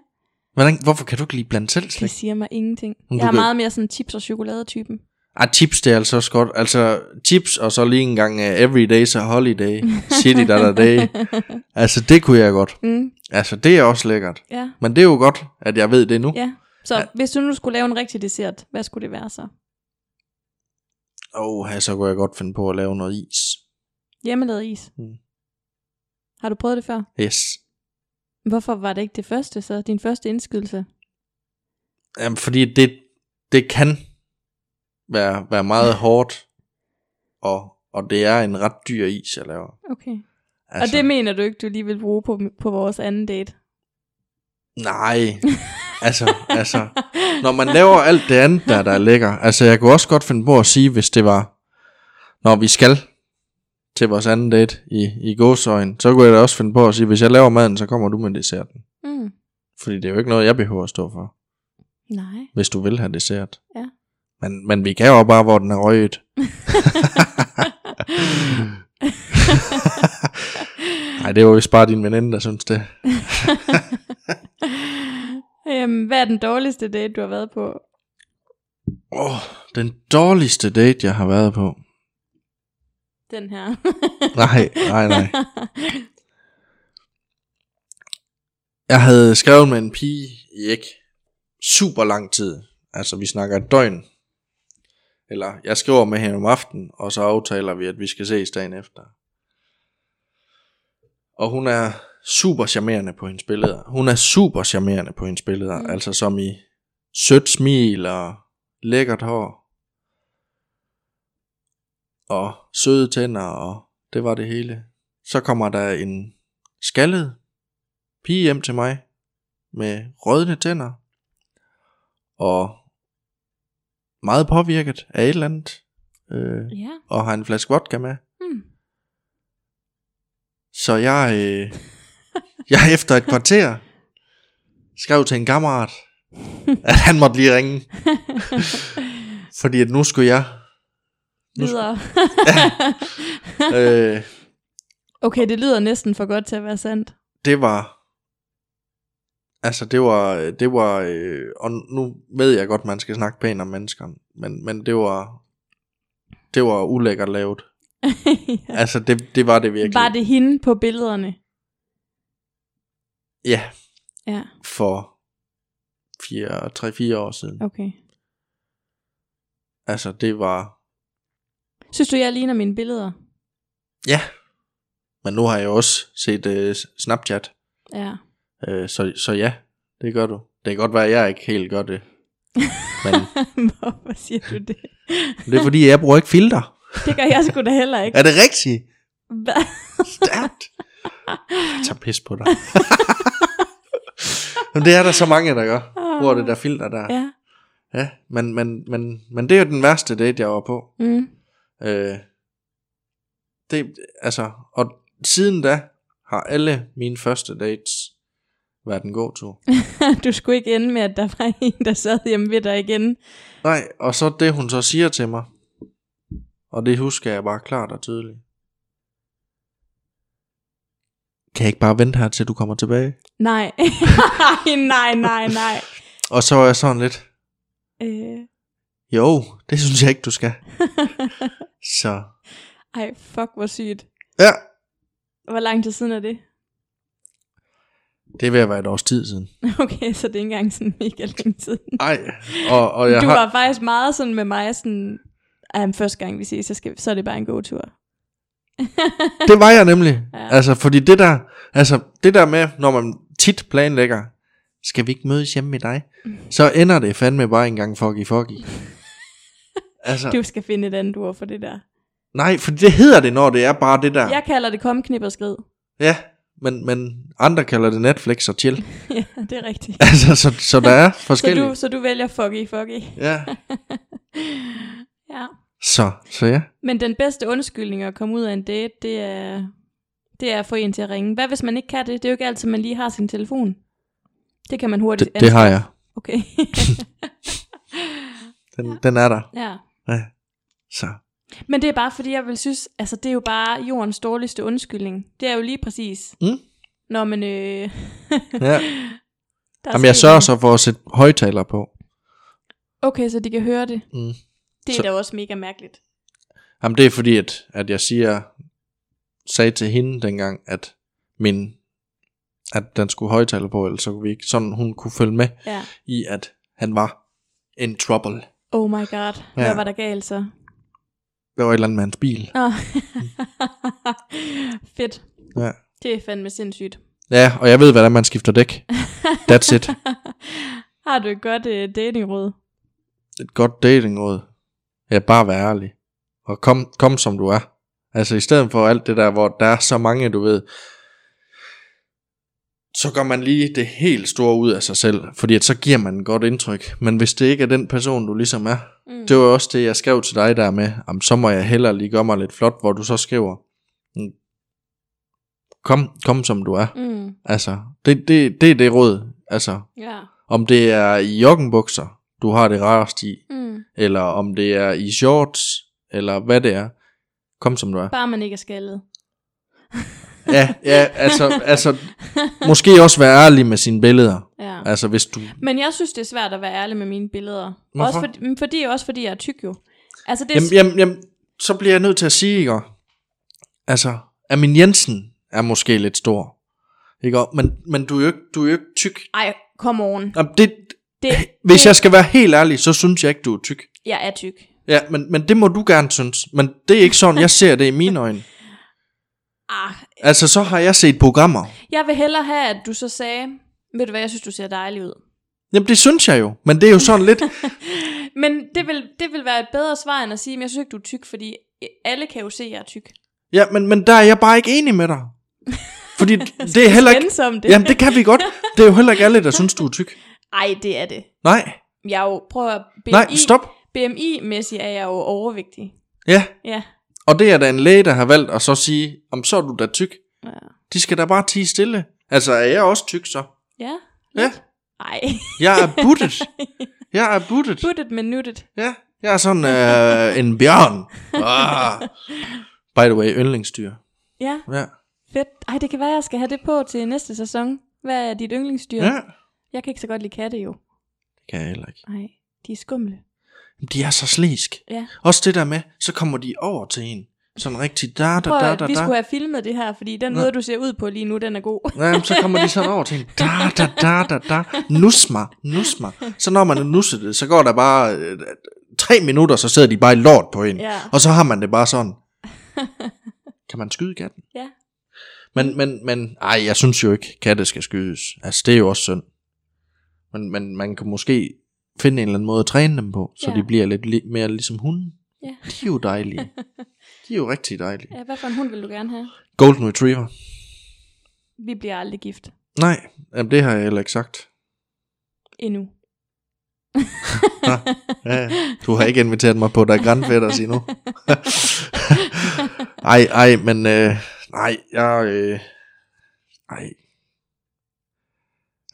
Hvordan, hvorfor kan du ikke lide blandt selv Det slik? siger mig ingenting. Men Jeg du er kan- meget mere sådan chips- og chokoladetypen. Ah, chips, det er altså også godt. Altså, chips og så lige en gang uh, everyday's a holiday. Shitty da da day. Altså, det kunne jeg godt. Mm, Altså, det er også lækkert. ja, Men det er jo godt, at jeg ved det nu. ja. Så ja. hvis du nu skulle lave en rigtig dessert, hvad skulle det være så? Åh, oh, så kunne jeg godt finde på at lave noget is. Hjemmelavet is. Mm. Har du prøvet det før? Yes. Hvorfor var det ikke det første så? Din første indskydelse? Jamen, fordi det, det kan være, være meget hårdt, og, og det er en ret dyr is, jeg laver. Okay. Altså. Og det mener du ikke, du lige vil bruge på, på vores anden date? Nej, altså, altså, når man laver alt det andet, der, der er lækker, altså jeg kunne også godt finde på at sige, hvis det var, når vi skal til vores anden date i, i gåsøjen, så kunne jeg da også finde på at sige, hvis jeg laver maden, så kommer du med desserten. Mm. Fordi det er jo ikke noget, jeg behøver at stå for, Nej. hvis du vil have dessert. Ja. Men, men vi kan jo bare, hvor den er røget. Nej, det er jo vist bare din veninde, der synes det. Øhm, hvad er den dårligste date, du har været på? Åh, oh, den dårligste date, jeg har været på. Den her. Nej, nej, nej. Jeg havde skrevet med en pige i ikke super lang tid. Altså, vi snakker et døgn. Eller, jeg skriver med hende om aftenen, og så aftaler vi, at vi skal ses dagen efter. Og hun er super charmerende på hendes billeder. Hun er super charmerende på hendes billeder. Mm. Mm. Altså som i sødt smil og lækkert hår. Og søde tænder, og det var det hele. Så kommer der en skaldet pige hjem til mig med rødne tænder. Og meget påvirket af et eller andet. Øh, ja. og har en flaske vodka med. Mm. Så jeg, øh, jeg efter et kvarter skrev til en kammerat, at han måtte lige ringe, fordi at nu skulle jeg. Videre. Øh, Okay, det lyder næsten for godt til at være sandt. det var, altså det var, det var, øh, og nu ved jeg godt, man skal snakke pænt om mennesker, men, men det var, det var ulækkert lavet. ja. Altså det, det var det virkelig. Var det hende på billederne? Ja, Ja, for 3-4 år siden. okay. Altså det var, Synes du, jeg ligner mine billeder? Ja. Men nu har jeg jo også set øh, Snapchat, Ja. øh, så, så ja, det gør du. Det kan godt være, at jeg ikke helt gør det. Men Hvorfor siger du det? det er fordi, jeg bruger ikke filter. Det gør jeg sgu da heller ikke. Er det rigtigt? Hva? Stærkt. Jeg tager pis på dig. men det er der så mange, der gør. Bruger det der filter der. Ja. ja men, men, men, men det er jo den værste date, jeg var på. Mm. Øh, det, altså, og siden da har alle mine første dates været en god tur. Du skulle ikke ende med, at der var en, der sad hjemme ved dig igen. Nej, og så det hun så siger til mig. Og det husker jeg bare klart og tydeligt. Kan jeg ikke bare vente her, til du kommer tilbage? Nej. nej, nej, nej. Og så var jeg sådan lidt, Øh, jo, det synes jeg ikke, du skal. så, ej, fuck, hvor sygt. ja, Hvor lang tid siden er det? det er ved at være et års tid siden. Okay, så det er ikke engang sådan mega længe siden. Ej, og, og jeg Du har... var faktisk meget sådan med mig, sådan, ej, men første gang vi ses, så, skal, så er det bare en god tur. Det var jeg nemlig. Ja. Ja. Altså, fordi det der, altså, det der med, når man tit planlægger, skal vi ikke mødes hjemme med dig? Så ender det fandme bare engang fucky fucky. Altså, Du skal finde et andet ord for det der. Nej, for det hedder det, når det er bare det der. Jeg kalder det kom, knip og skrid. Ja, men, men andre kalder det Netflix og chill. ja, det er rigtigt. altså, så, så der er Så forskellige. du, så du vælger fucky, fucky. Ja, Ja. så, så ja. Men den bedste undskyldning at komme ud af en date, det er, det er at få en til at ringe. Hvad hvis man ikke kan det? Det er jo ikke altid, man lige har sin telefon. Det kan man hurtigt Det, det har jeg. Okay. Den, den er der. ja. Ja. Så. Men det er bare fordi, jeg vil synes, altså det er jo bare jordens dårligste undskyldning. Det er jo lige præcis. Mm. Når man, øh, Ja. der er Jamen, jeg sket sørger noget. så for at sætte højtaler på. Okay, så de kan høre det. Mm. Det er Så- da også mega mærkeligt. Jamen, det er fordi, at, at jeg siger, sagde til hende dengang, at min at den skulle højtaler på, eller så kunne vi ikke, sådan hun kunne følge med Ja. i, at han var in trouble. Oh my god. Hvad Ja. Mm. var der galt så? Der var et eller andet med hans bil. Nå. Fedt. Ja. Det er fandme sindssygt. Ja, og jeg ved, hvordan man skifter dæk. That's it. Har du et godt øh, datingråd? et godt datingråd. Ja, bare være ærlig. Og kom, kom som du er. Altså i stedet for alt det der, hvor der er så mange, du ved, så gør man lige det helt store ud af sig selv, fordi at så giver man et godt indtryk. Men hvis det ikke er den person, du ligesom er, Mm. det var også det, jeg skrev til dig der med, om så må jeg hellere lige gøre mig lidt flot, hvor du så skriver, mm, kom, kom som du er. Mm. Altså, det, det, det er det råd. Altså, Ja. om det er i joggenbukser, du har det rarest i, Mm. eller om det er i shorts, eller hvad det er. Kom som du er. Bare man ikke er skaldet. Ja, ja altså, altså, måske også være ærlig med sine billeder. Ja. Altså, hvis du... Men jeg synes, det er svært at være ærlig med mine billeder. Hvorfor? Også fordi, men fordi, også fordi jeg er tyk jo. Altså, det er, Jamen, jamen, jamen, så bliver jeg nødt til at sige, ikke? Altså, Amin Jensen er måske lidt stor. Ikke? Men, men du er jo ikke, du er jo ikke tyk. Ej, kom on. Jamen, det, Det, hvis det, jeg skal være helt ærlig, så synes jeg ikke, du er tyk. jeg er tyk. Ja, men, men det må du gerne synes. Men det er ikke sådan, jeg ser det i mine øjne. Ah, Altså, så har jeg set programmer. jeg vil hellere have, at du så sagde, ved du hvad, jeg synes, du ser dejlig ud. Jamen, det synes jeg jo. Men det er jo sådan lidt... Men det vil, det vil være et bedre svar, end at sige, men jeg synes ikke, du er tyk, fordi øh, alle kan jo se, at jeg er tyk. Ja, men, men der er jeg bare ikke enig med dig. Fordi det er heller ikke... Skændes om det. Jamen, det kan vi godt. Det er jo heller ikke alle, der synes, du er tyk. Ej, det er det. Nej, Jeg er jo, prøv at BMI, nej, stop. BMI-mæssigt er jeg jo overvægtig. Ja, Ja, og det er da en læge, der har valgt at så sige, om så er du da tyk. Ja. De skal da bare tige stille. Altså, er jeg også tyk så? ja, Ja, ej. jeg er buttet. Jeg er buttet. Buttet, men nuttet. Ja, jeg er sådan øh, en bjørn. Ah. By the way, yndlingsdyr. Ja, Ja. fedt. Ej, det kan være, jeg skal have det på til næste sæson. Hvad er dit yndlingsdyr? ja, Jeg kan ikke så godt lide katte jo. det kan jeg heller ikke. Nej, de er skumle. De er så slæsk. Ja. Også det der med, så kommer de over til en. Sådan rigtig da da Prøv da at, da vi da. skulle have filmet det her, fordi den Nå. måde, du ser ud på lige nu, den er god. Ja, men så kommer de sådan over til en da da da da da. Nus mig, nus mig. Så når man er nusset det, så går der bare øh, tre minutter, så sidder de bare i lort på en. Ja. Og så har man det bare sådan. Kan man skyde katten? Ja. Men, men, men, ej, jeg synes jo ikke, katte skal skydes. Altså, det er jo også synd. Men, men man kan måske finde en eller anden måde at træne dem på, så Ja. ja. de bliver lidt li- mere ligesom hunden. Ja. De er jo dejlige. De er jo rigtig dejlige. ja. Hvad for en hund vil du gerne have? Golden Retriever. Vi bliver aldrig gift. Nej, jamen det har jeg heller ikke sagt. Endnu. Ja, du har ikke inviteret mig på, der er grandfætter endnu. ej, ej, men øh, nej, jeg, øh, ej.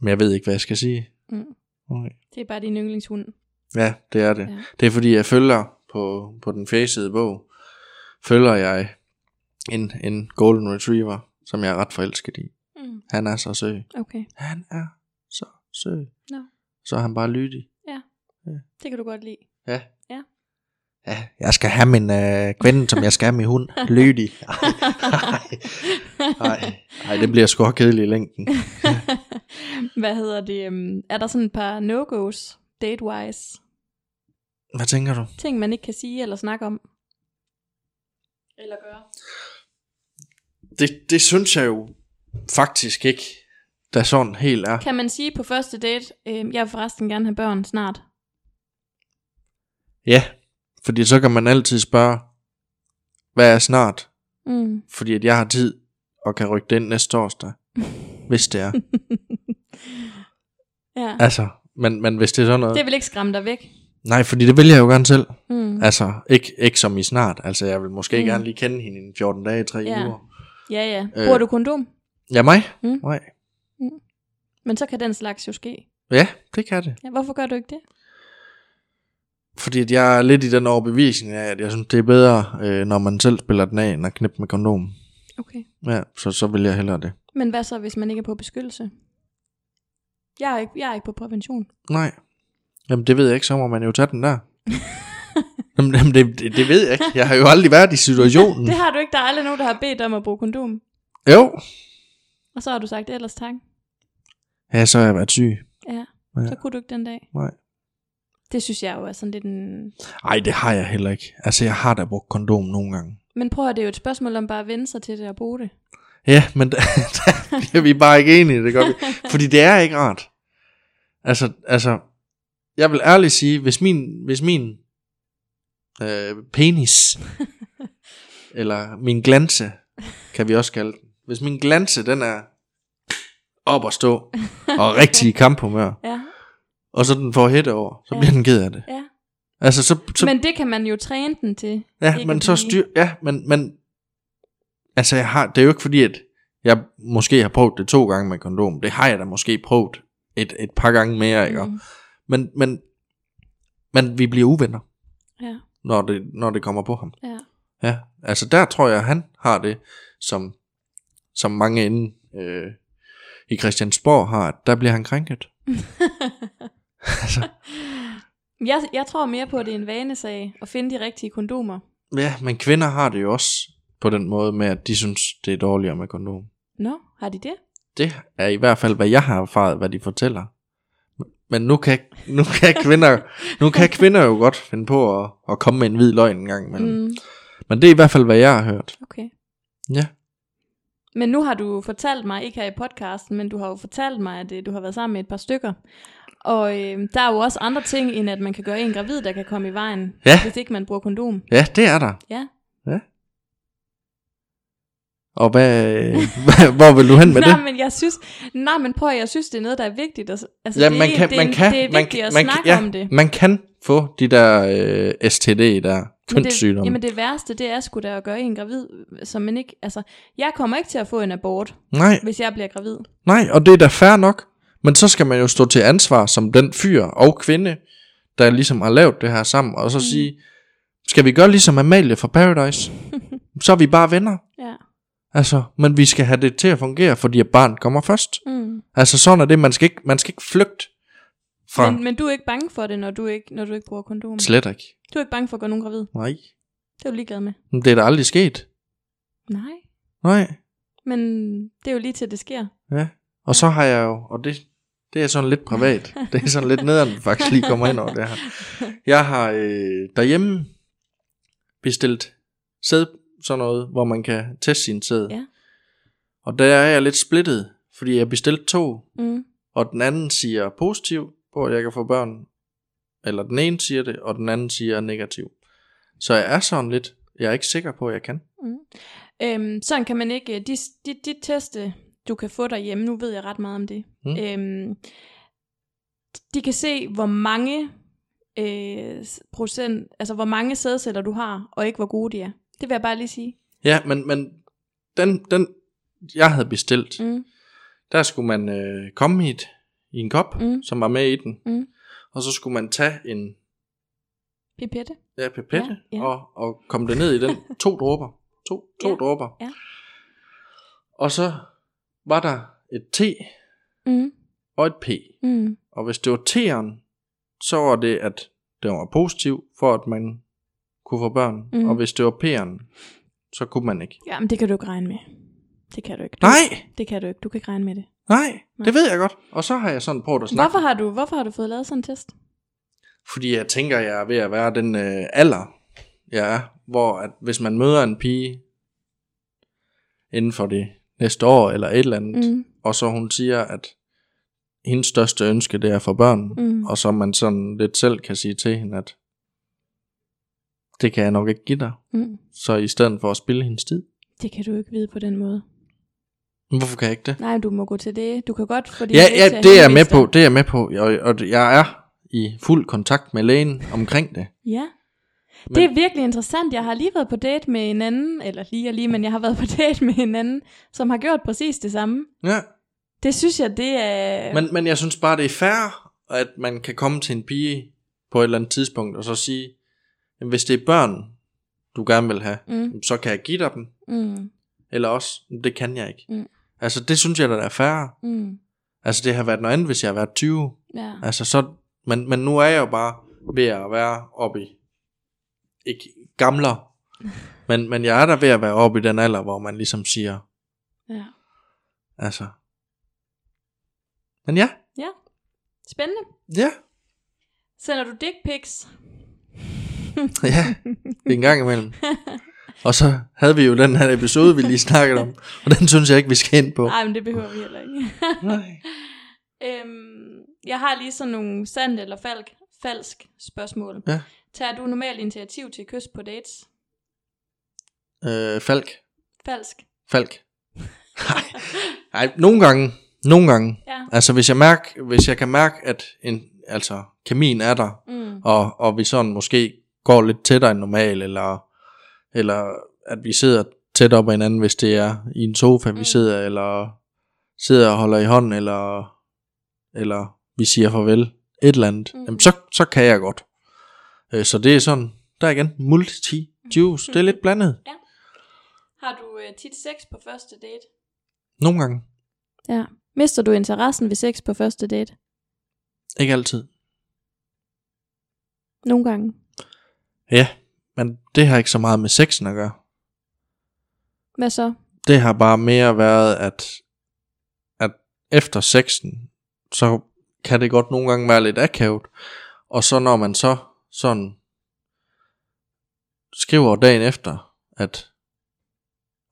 Men jeg ved ikke, hvad jeg skal sige. Mm. Okay. Det er bare din yndlingshund. Ja, det er det. Ja. Ja. Det er fordi, jeg følger på, på den fæsede bog, følger jeg en, en golden retriever, som jeg er ret forelsket i. Mm. Han er så sød. Okay, Han er så sød. Nå. Så er han bare lydig. det kan du godt lide. Ja. Ja. Ja, jeg skal have min øh, kvinde, som jeg skal have min hund. Lydig. Ej, ej, ej, det bliver sgu også kedeligt i længden. Hvad hedder det? øhm, Er der sådan et par no-go's, date-wise, Hvad tænker du? ting, man ikke kan sige eller snakke om? Eller gøre? Det, det synes jeg jo faktisk ikke, der sådan helt er. Kan man sige på første date, øh, jeg vil forresten gerne have børn snart? Ja, fordi så kan man altid spørge, hvad er snart? Mm. Fordi at jeg har tid og kan rykke den næste torsdag, hvis det er. Ja. altså, men, men hvis det er sådan noget... Det vil ikke skræmme dig væk. Nej, fordi det vil jeg jo gerne selv. Mm. Altså, ikke, ikke som i snart. Altså, jeg vil måske Mm. mm. gerne lige kende hende i 14 dage, 3 Ja. ja. uger. Ja, ja. Øh. Bruger du kondom? Ja, mig? Mm. Nej. Men så kan den slags jo ske. Ja, det kan det. Ja, hvorfor gør du ikke det? Fordi at jeg er lidt i den overbevisning af, at jeg synes, det er bedre, øh, når man selv spiller den af, end at knippe med kondom. Okay. Ja, så, så vil jeg hellere det. Men hvad så, hvis man ikke er på beskyttelse? Jeg er ikke, jeg er ikke på prævention. Nej. Jamen, det ved jeg ikke. Så må man jo tage den der. Jamen, jamen det, det, det ved jeg ikke. Jeg har jo aldrig været i situationen. Det har du ikke. Der er aldrig nogen, der har bedt dig om at bruge kondom. Jo. Og så har du sagt, ellers tak. Ja, så har jeg været syg. Ja, Ja. så kunne du ikke den dag. Nej. Det synes jeg jo er sådan lidt en... Ej, det har jeg heller ikke. Altså, jeg har da brugt kondom nogle gange. Men prøv at det er jo et spørgsmål om bare at vende sig til det og bruge det. Ja, men der, der bliver vi bare ikke enige, det gør vi. Fordi det er ikke rart. Altså, altså, jeg vil ærligt sige, hvis min, hvis min øh, penis, eller min glanse, kan vi også kalde den, hvis min glanse, den er op at stå, og rigtig i kamphumør, Ja, og så den får hætte over, så Ja. bliver den ked af det. ja. Altså, så, så Så, men det kan man jo træne den til. Ja, ikke men at så blive- styr... Ja, men, men... Altså, jeg har... det er jo ikke fordi, at jeg måske har prøvet det to gange med kondom. Det har jeg da måske prøvet et, et par gange mere, ikke? Mm. Mm. Men, men, men vi bliver uvenner, Ja, når det, når det kommer på ham. ja. Ja, altså der tror jeg, han har det, som, som mange inde øh, i Christiansborg har, at der bliver han krænket. Jeg, jeg tror mere på, at det er en vanesag at finde de rigtige kondomer. Ja, men kvinder har det jo også på den måde med, at de synes, det er dårligere med kondom. Nå, har de det? Det er i hvert fald, hvad jeg har erfaret, hvad de fortæller. Men nu kan, nu kan, kvinder, nu kan kvinder jo godt finde på at, at komme med en hvid løgn en gang imellem. Mm. Mm, Men det er i hvert fald, hvad jeg har hørt. okay. Ja, Men nu har du fortalt mig, ikke her i podcasten, men du har jo fortalt mig, at øh, du har været sammen med et par stykker. Og øh, der er jo også andre ting, end at man kan gøre en gravid, der kan komme i vejen, Ja. hvis ikke man bruger kondom. ja det er der. Ja. Og hvad, hvad- hvor vil du hen med nej, det? men jeg synes, nej, men prøv, at- jeg synes, det er noget, der er vigtigt. At, altså, Ja, det, man er- kan, det, er man en- kan, det er man, vigtigt at man, snakke ja, om det. man kan få de der øh, STD der, Men det, kønssygdomme. jamen det værste, det er sgu da at gøre en gravid, som man ikke, altså, jeg kommer ikke til at få en abort, Nej, hvis jeg bliver gravid. nej, og det er da fair nok. Men så skal man jo stå til ansvar som den fyr og kvinde, der ligesom har lavet det her sammen, og så mm. sige, skal vi gøre ligesom Amalie fra Paradise? så er vi bare venner. Ja. Altså, men vi skal have det til at fungere, fordi at barn kommer først. Mm. Altså sådan er det, man skal ikke, man skal ikke flygte fra... Men, men, du er ikke bange for det, når du ikke, når du ikke bruger kondom. Slet ikke. Du er ikke bange for at gøre nogen gravid. Nej. Det er du ligeglad med. Men Det er da aldrig sket. Nej. Nej. Men det er jo lige til, at det sker. Ja, og så har jeg jo, og det, det er sådan lidt privat, det er sådan lidt nederen, faktisk lige kommer ind over det her. Jeg har øh, derhjemme bestilt sæd, sådan noget, hvor man kan teste sin sæd. Ja. Og der er jeg lidt splittet, fordi jeg bestilte to, Mm. og den anden siger positiv, på at jeg kan få børn. Eller den ene siger det, og den anden siger negativ. Så jeg er sådan lidt, jeg er ikke sikker på, at jeg kan. Mm. Øhm, sådan kan man ikke, de, de, de teste, du kan få derhjemme, nu ved jeg ret meget om det. Mm. Øhm, de kan se, hvor mange øh, procent, altså hvor mange sædceller du har, og ikke hvor gode de er. Det vil jeg bare lige sige. Ja, men, men den, den, jeg havde bestilt, Mm. Der skulle man øh, komme i, et, i en kop, mm. Mm. som var med i den. Mm. Og så skulle man tage en Pipette. ja, pipette ja, Ja, ja. ja. Og, og komme det ned i den. To dråber. To, to ja, Ja, dråber. ja. Og så var der et T Mm. og et P. Mm. Og hvis det var T'eren, så var det, at det var positiv, for at man kunne få børn. Mm. Mm. Og hvis det var P'eren, så kunne man ikke. Jamen, det kan du ikke regne med. Det kan du ikke. Du, Nej, Det kan du ikke. Du kan ikke regne med det. nej, Nej. det ved jeg godt. Og så har jeg sådan prøvet at snakke. Hvorfor har, du, hvorfor har du fået lavet sådan en test? Fordi jeg tænker, jeg er ved at være den øh, alder, jeg er, hvor at hvis man møder en pige inden for det næste år eller et eller andet, mm. Mm. og så hun siger, at hendes største ønske, det er for børn, mm. Mm. og så man sådan lidt selv kan sige til hende, at det kan jeg nok ikke give dig, Mm. så i stedet for at spille hendes tid. Det kan du ikke vide på den måde. Men Hvorfor kan jeg ikke det? Nej, du må gå til det. Du kan godt få din Ja, læge til ja, at det er jeg med henvise på, dig. det er jeg med på, og, og jeg er i fuld kontakt med lægen omkring det. Ja. Men- Det er virkelig interessant. Jeg har lige været på date med en anden, eller lige og lige, men jeg har været på date med en anden, som har gjort præcis det samme. Ja. Det synes jeg, det er... Men, men jeg synes bare, det er fair, at man kan komme til en pige på et eller andet tidspunkt, og så sige, "Jamen, hvis det er børn, du gerne vil have, Mm, så kan jeg give dig dem, mm, eller også, "Jamen, det kan jeg ikke. Mm. Altså, det synes jeg, der er fair. mm, Altså, det har været noget andet, hvis jeg har været 20. ja. Altså, så, men, men nu er jeg jo bare ved at være oppe i, ikke gamlere, men, men jeg er der ved at være oppe i den alder, hvor man ligesom siger, ja. altså, men ja, Ja. Spændende. ja, Sender du dick pics? Ja, en gang imellem. Og så havde vi jo den her episode, vi lige snakkede om, og den synes jeg ikke, vi skal ind på. Nej, men det behøver vi heller ikke. Nej. Øhm, jeg har lige sådan nogle sandt eller falsk, falsk spørgsmål. Ja. Tager du normalt initiativ til kys på dates? Øh, Falk. Falsk. Falk. Nej. Nej, nogle gange. Nogle gange. Ja. Altså hvis jeg, mærk, hvis jeg kan mærke, at en, altså, kemin er der, Mm. og, og vi sådan måske går lidt tættere end normalt, eller, eller at vi sidder tæt op ad hinanden, hvis det er i en sofa, mm. Mm. vi sidder, eller sidder og holder i hånden, eller, eller vi siger farvel, et eller andet, Mm. mm. Jamen, så, så kan jeg godt. Øh, Så det er sådan, der er igen, Mm. multi-juice, det er lidt blandet, Har du øh, tit sex på første date? nogle gange, Ja. Mister du interessen ved sex på første date? ikke altid. Nogle gange. Ja, men det har ikke så meget med sexen at gøre. Hvad så? det har bare mere været, at, at efter sexen, så kan det godt nogle gange være lidt akavet. Og så når man så sådan skriver dagen efter, at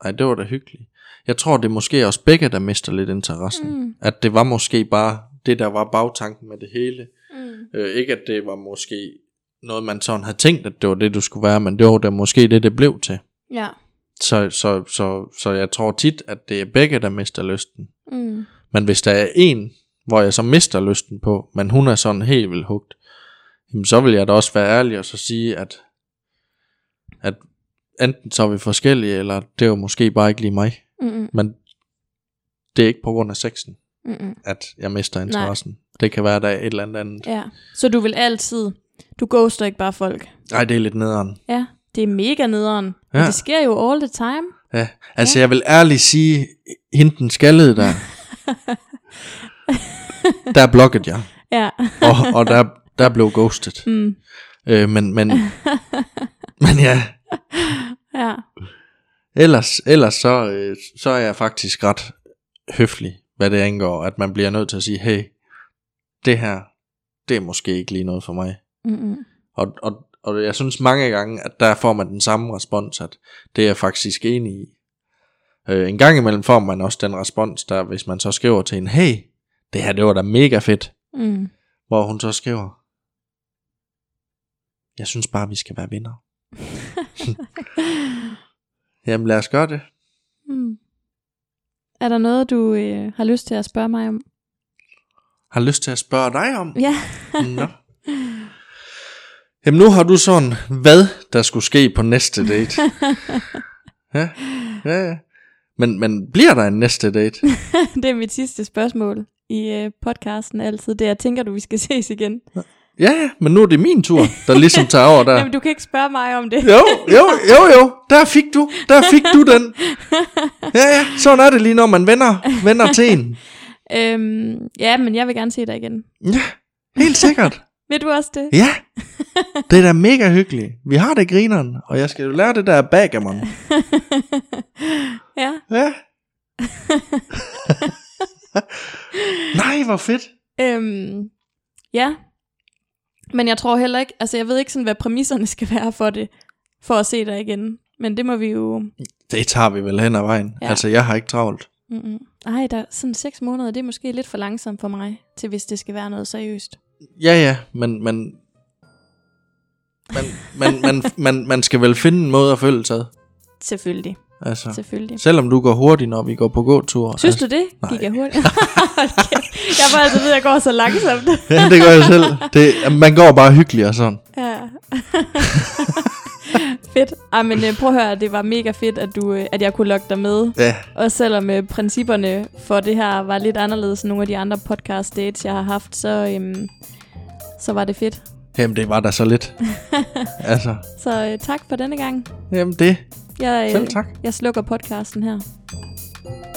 ej, det var da hyggeligt. Jeg tror, det er måske også begge, der mister lidt interessen. Mm. At det var måske bare det, der var bagtanken med det hele. Mm. Øh, ikke at det var måske noget, man sådan havde tænkt, at det var det, du skulle være, men det var da måske det, det blev til. Ja. Så, så, så, så jeg tror tit, at det er begge, der mister lysten. Mm. Men hvis der er en, hvor jeg så mister lysten på, men hun er sådan helt vildt hugt, jamen så vil jeg da også være ærlig og så sige, at, at enten så er vi forskellige, eller det er jo måske bare ikke lige mig. Mm. Men det er ikke på grund af sexen, Mm. at jeg mister interessen. Nej. Det kan være, at der er et eller andet andet. Ja. Så du vil altid... Du ghoster ikke bare folk. Nej, det er lidt nederen. Ja. Det er mega nederen. Ja. Ja. Men det sker jo all the time. Ja. Altså, jeg vil ærligt sige, hende den skaldede der, der blokkede jeg. Ja. og, og der, der blev ghostet. Mm. Øh, men, men, men ja, Ja. ellers, ellers så, øh, så er jeg faktisk ret høflig, hvad det angår, at man bliver nødt til at sige, hey, det her, det er måske ikke lige noget for mig. Mm. Og, og, og jeg synes mange gange, at der får man den samme respons, at det er jeg faktisk enig i. Øh, en gang imellem får man også den respons, der hvis man så skriver til en, hey, det her, det var da mega fedt, Mm. hvor hun så skriver, jeg synes bare, vi skal være venner. Jamen lad os gøre det. Mm. Er der noget, du øh, har lyst til at spørge mig om? Har lyst til at spørge dig om. Ja. Nå. Jamen nu har du sådan, hvad der skulle ske på næste date. Ja, ja, ja. Men, men bliver der en næste date? det er mit sidste spørgsmål i øh, podcasten altid. Det er, tænker du, vi skal ses igen? Ja, ja, men nu er det min tur, der ligesom tager over der. Jamen, du kan ikke spørge mig om det. Jo, jo, jo, jo, der fik du, der fik du den. Ja, ja, sådan er det lige, når man vender, vender til en. Øhm, ja, men jeg vil gerne se dig igen. Ja, helt sikkert. Vil du også det? Ja, det er da mega hyggeligt. Vi har det grineren, og jeg skal jo lære det der bagermon. ja. Ja. Nej, hvor fedt. Øhm, ja. Men jeg tror heller ikke, altså jeg ved ikke sådan, hvad præmisserne skal være for det, for at se dig igen. Men det må vi jo... Det tager vi vel hen ad vejen. Ja. Ja. Altså, jeg har ikke travlt. Mm-mm. Ej, der er sådan seks måneder, det er måske lidt for langsomt for mig, til hvis det skal være noget seriøst. Ja, ja, men... men man, man, man, man, man skal vel finde en måde at følge sig. ad. Selvfølgelig, Altså, selvfølgelig. selvom du går hurtigt, når vi går på gåtur. Synes altså, du det? nej. Gik jeg hurtigt? Hold kæft. jeg får altid ved, at jeg går så langsomt. Ja, det gør jeg selv. Det, man går bare hyggeligt og sådan. Ja. fedt. Ej, men øh, prøv at høre, det var mega fedt, at, du, øh, at jeg kunne lokke dig med. Ja, Og selvom øh, principperne for det her var lidt anderledes end nogle af de andre podcast dates, jeg har haft, så, øhm, så var det fedt. jamen det var da så lidt. altså, Så øh, tak for denne gang. jamen det. Jeg, øh, Selv tak. jeg slukker podcasten her.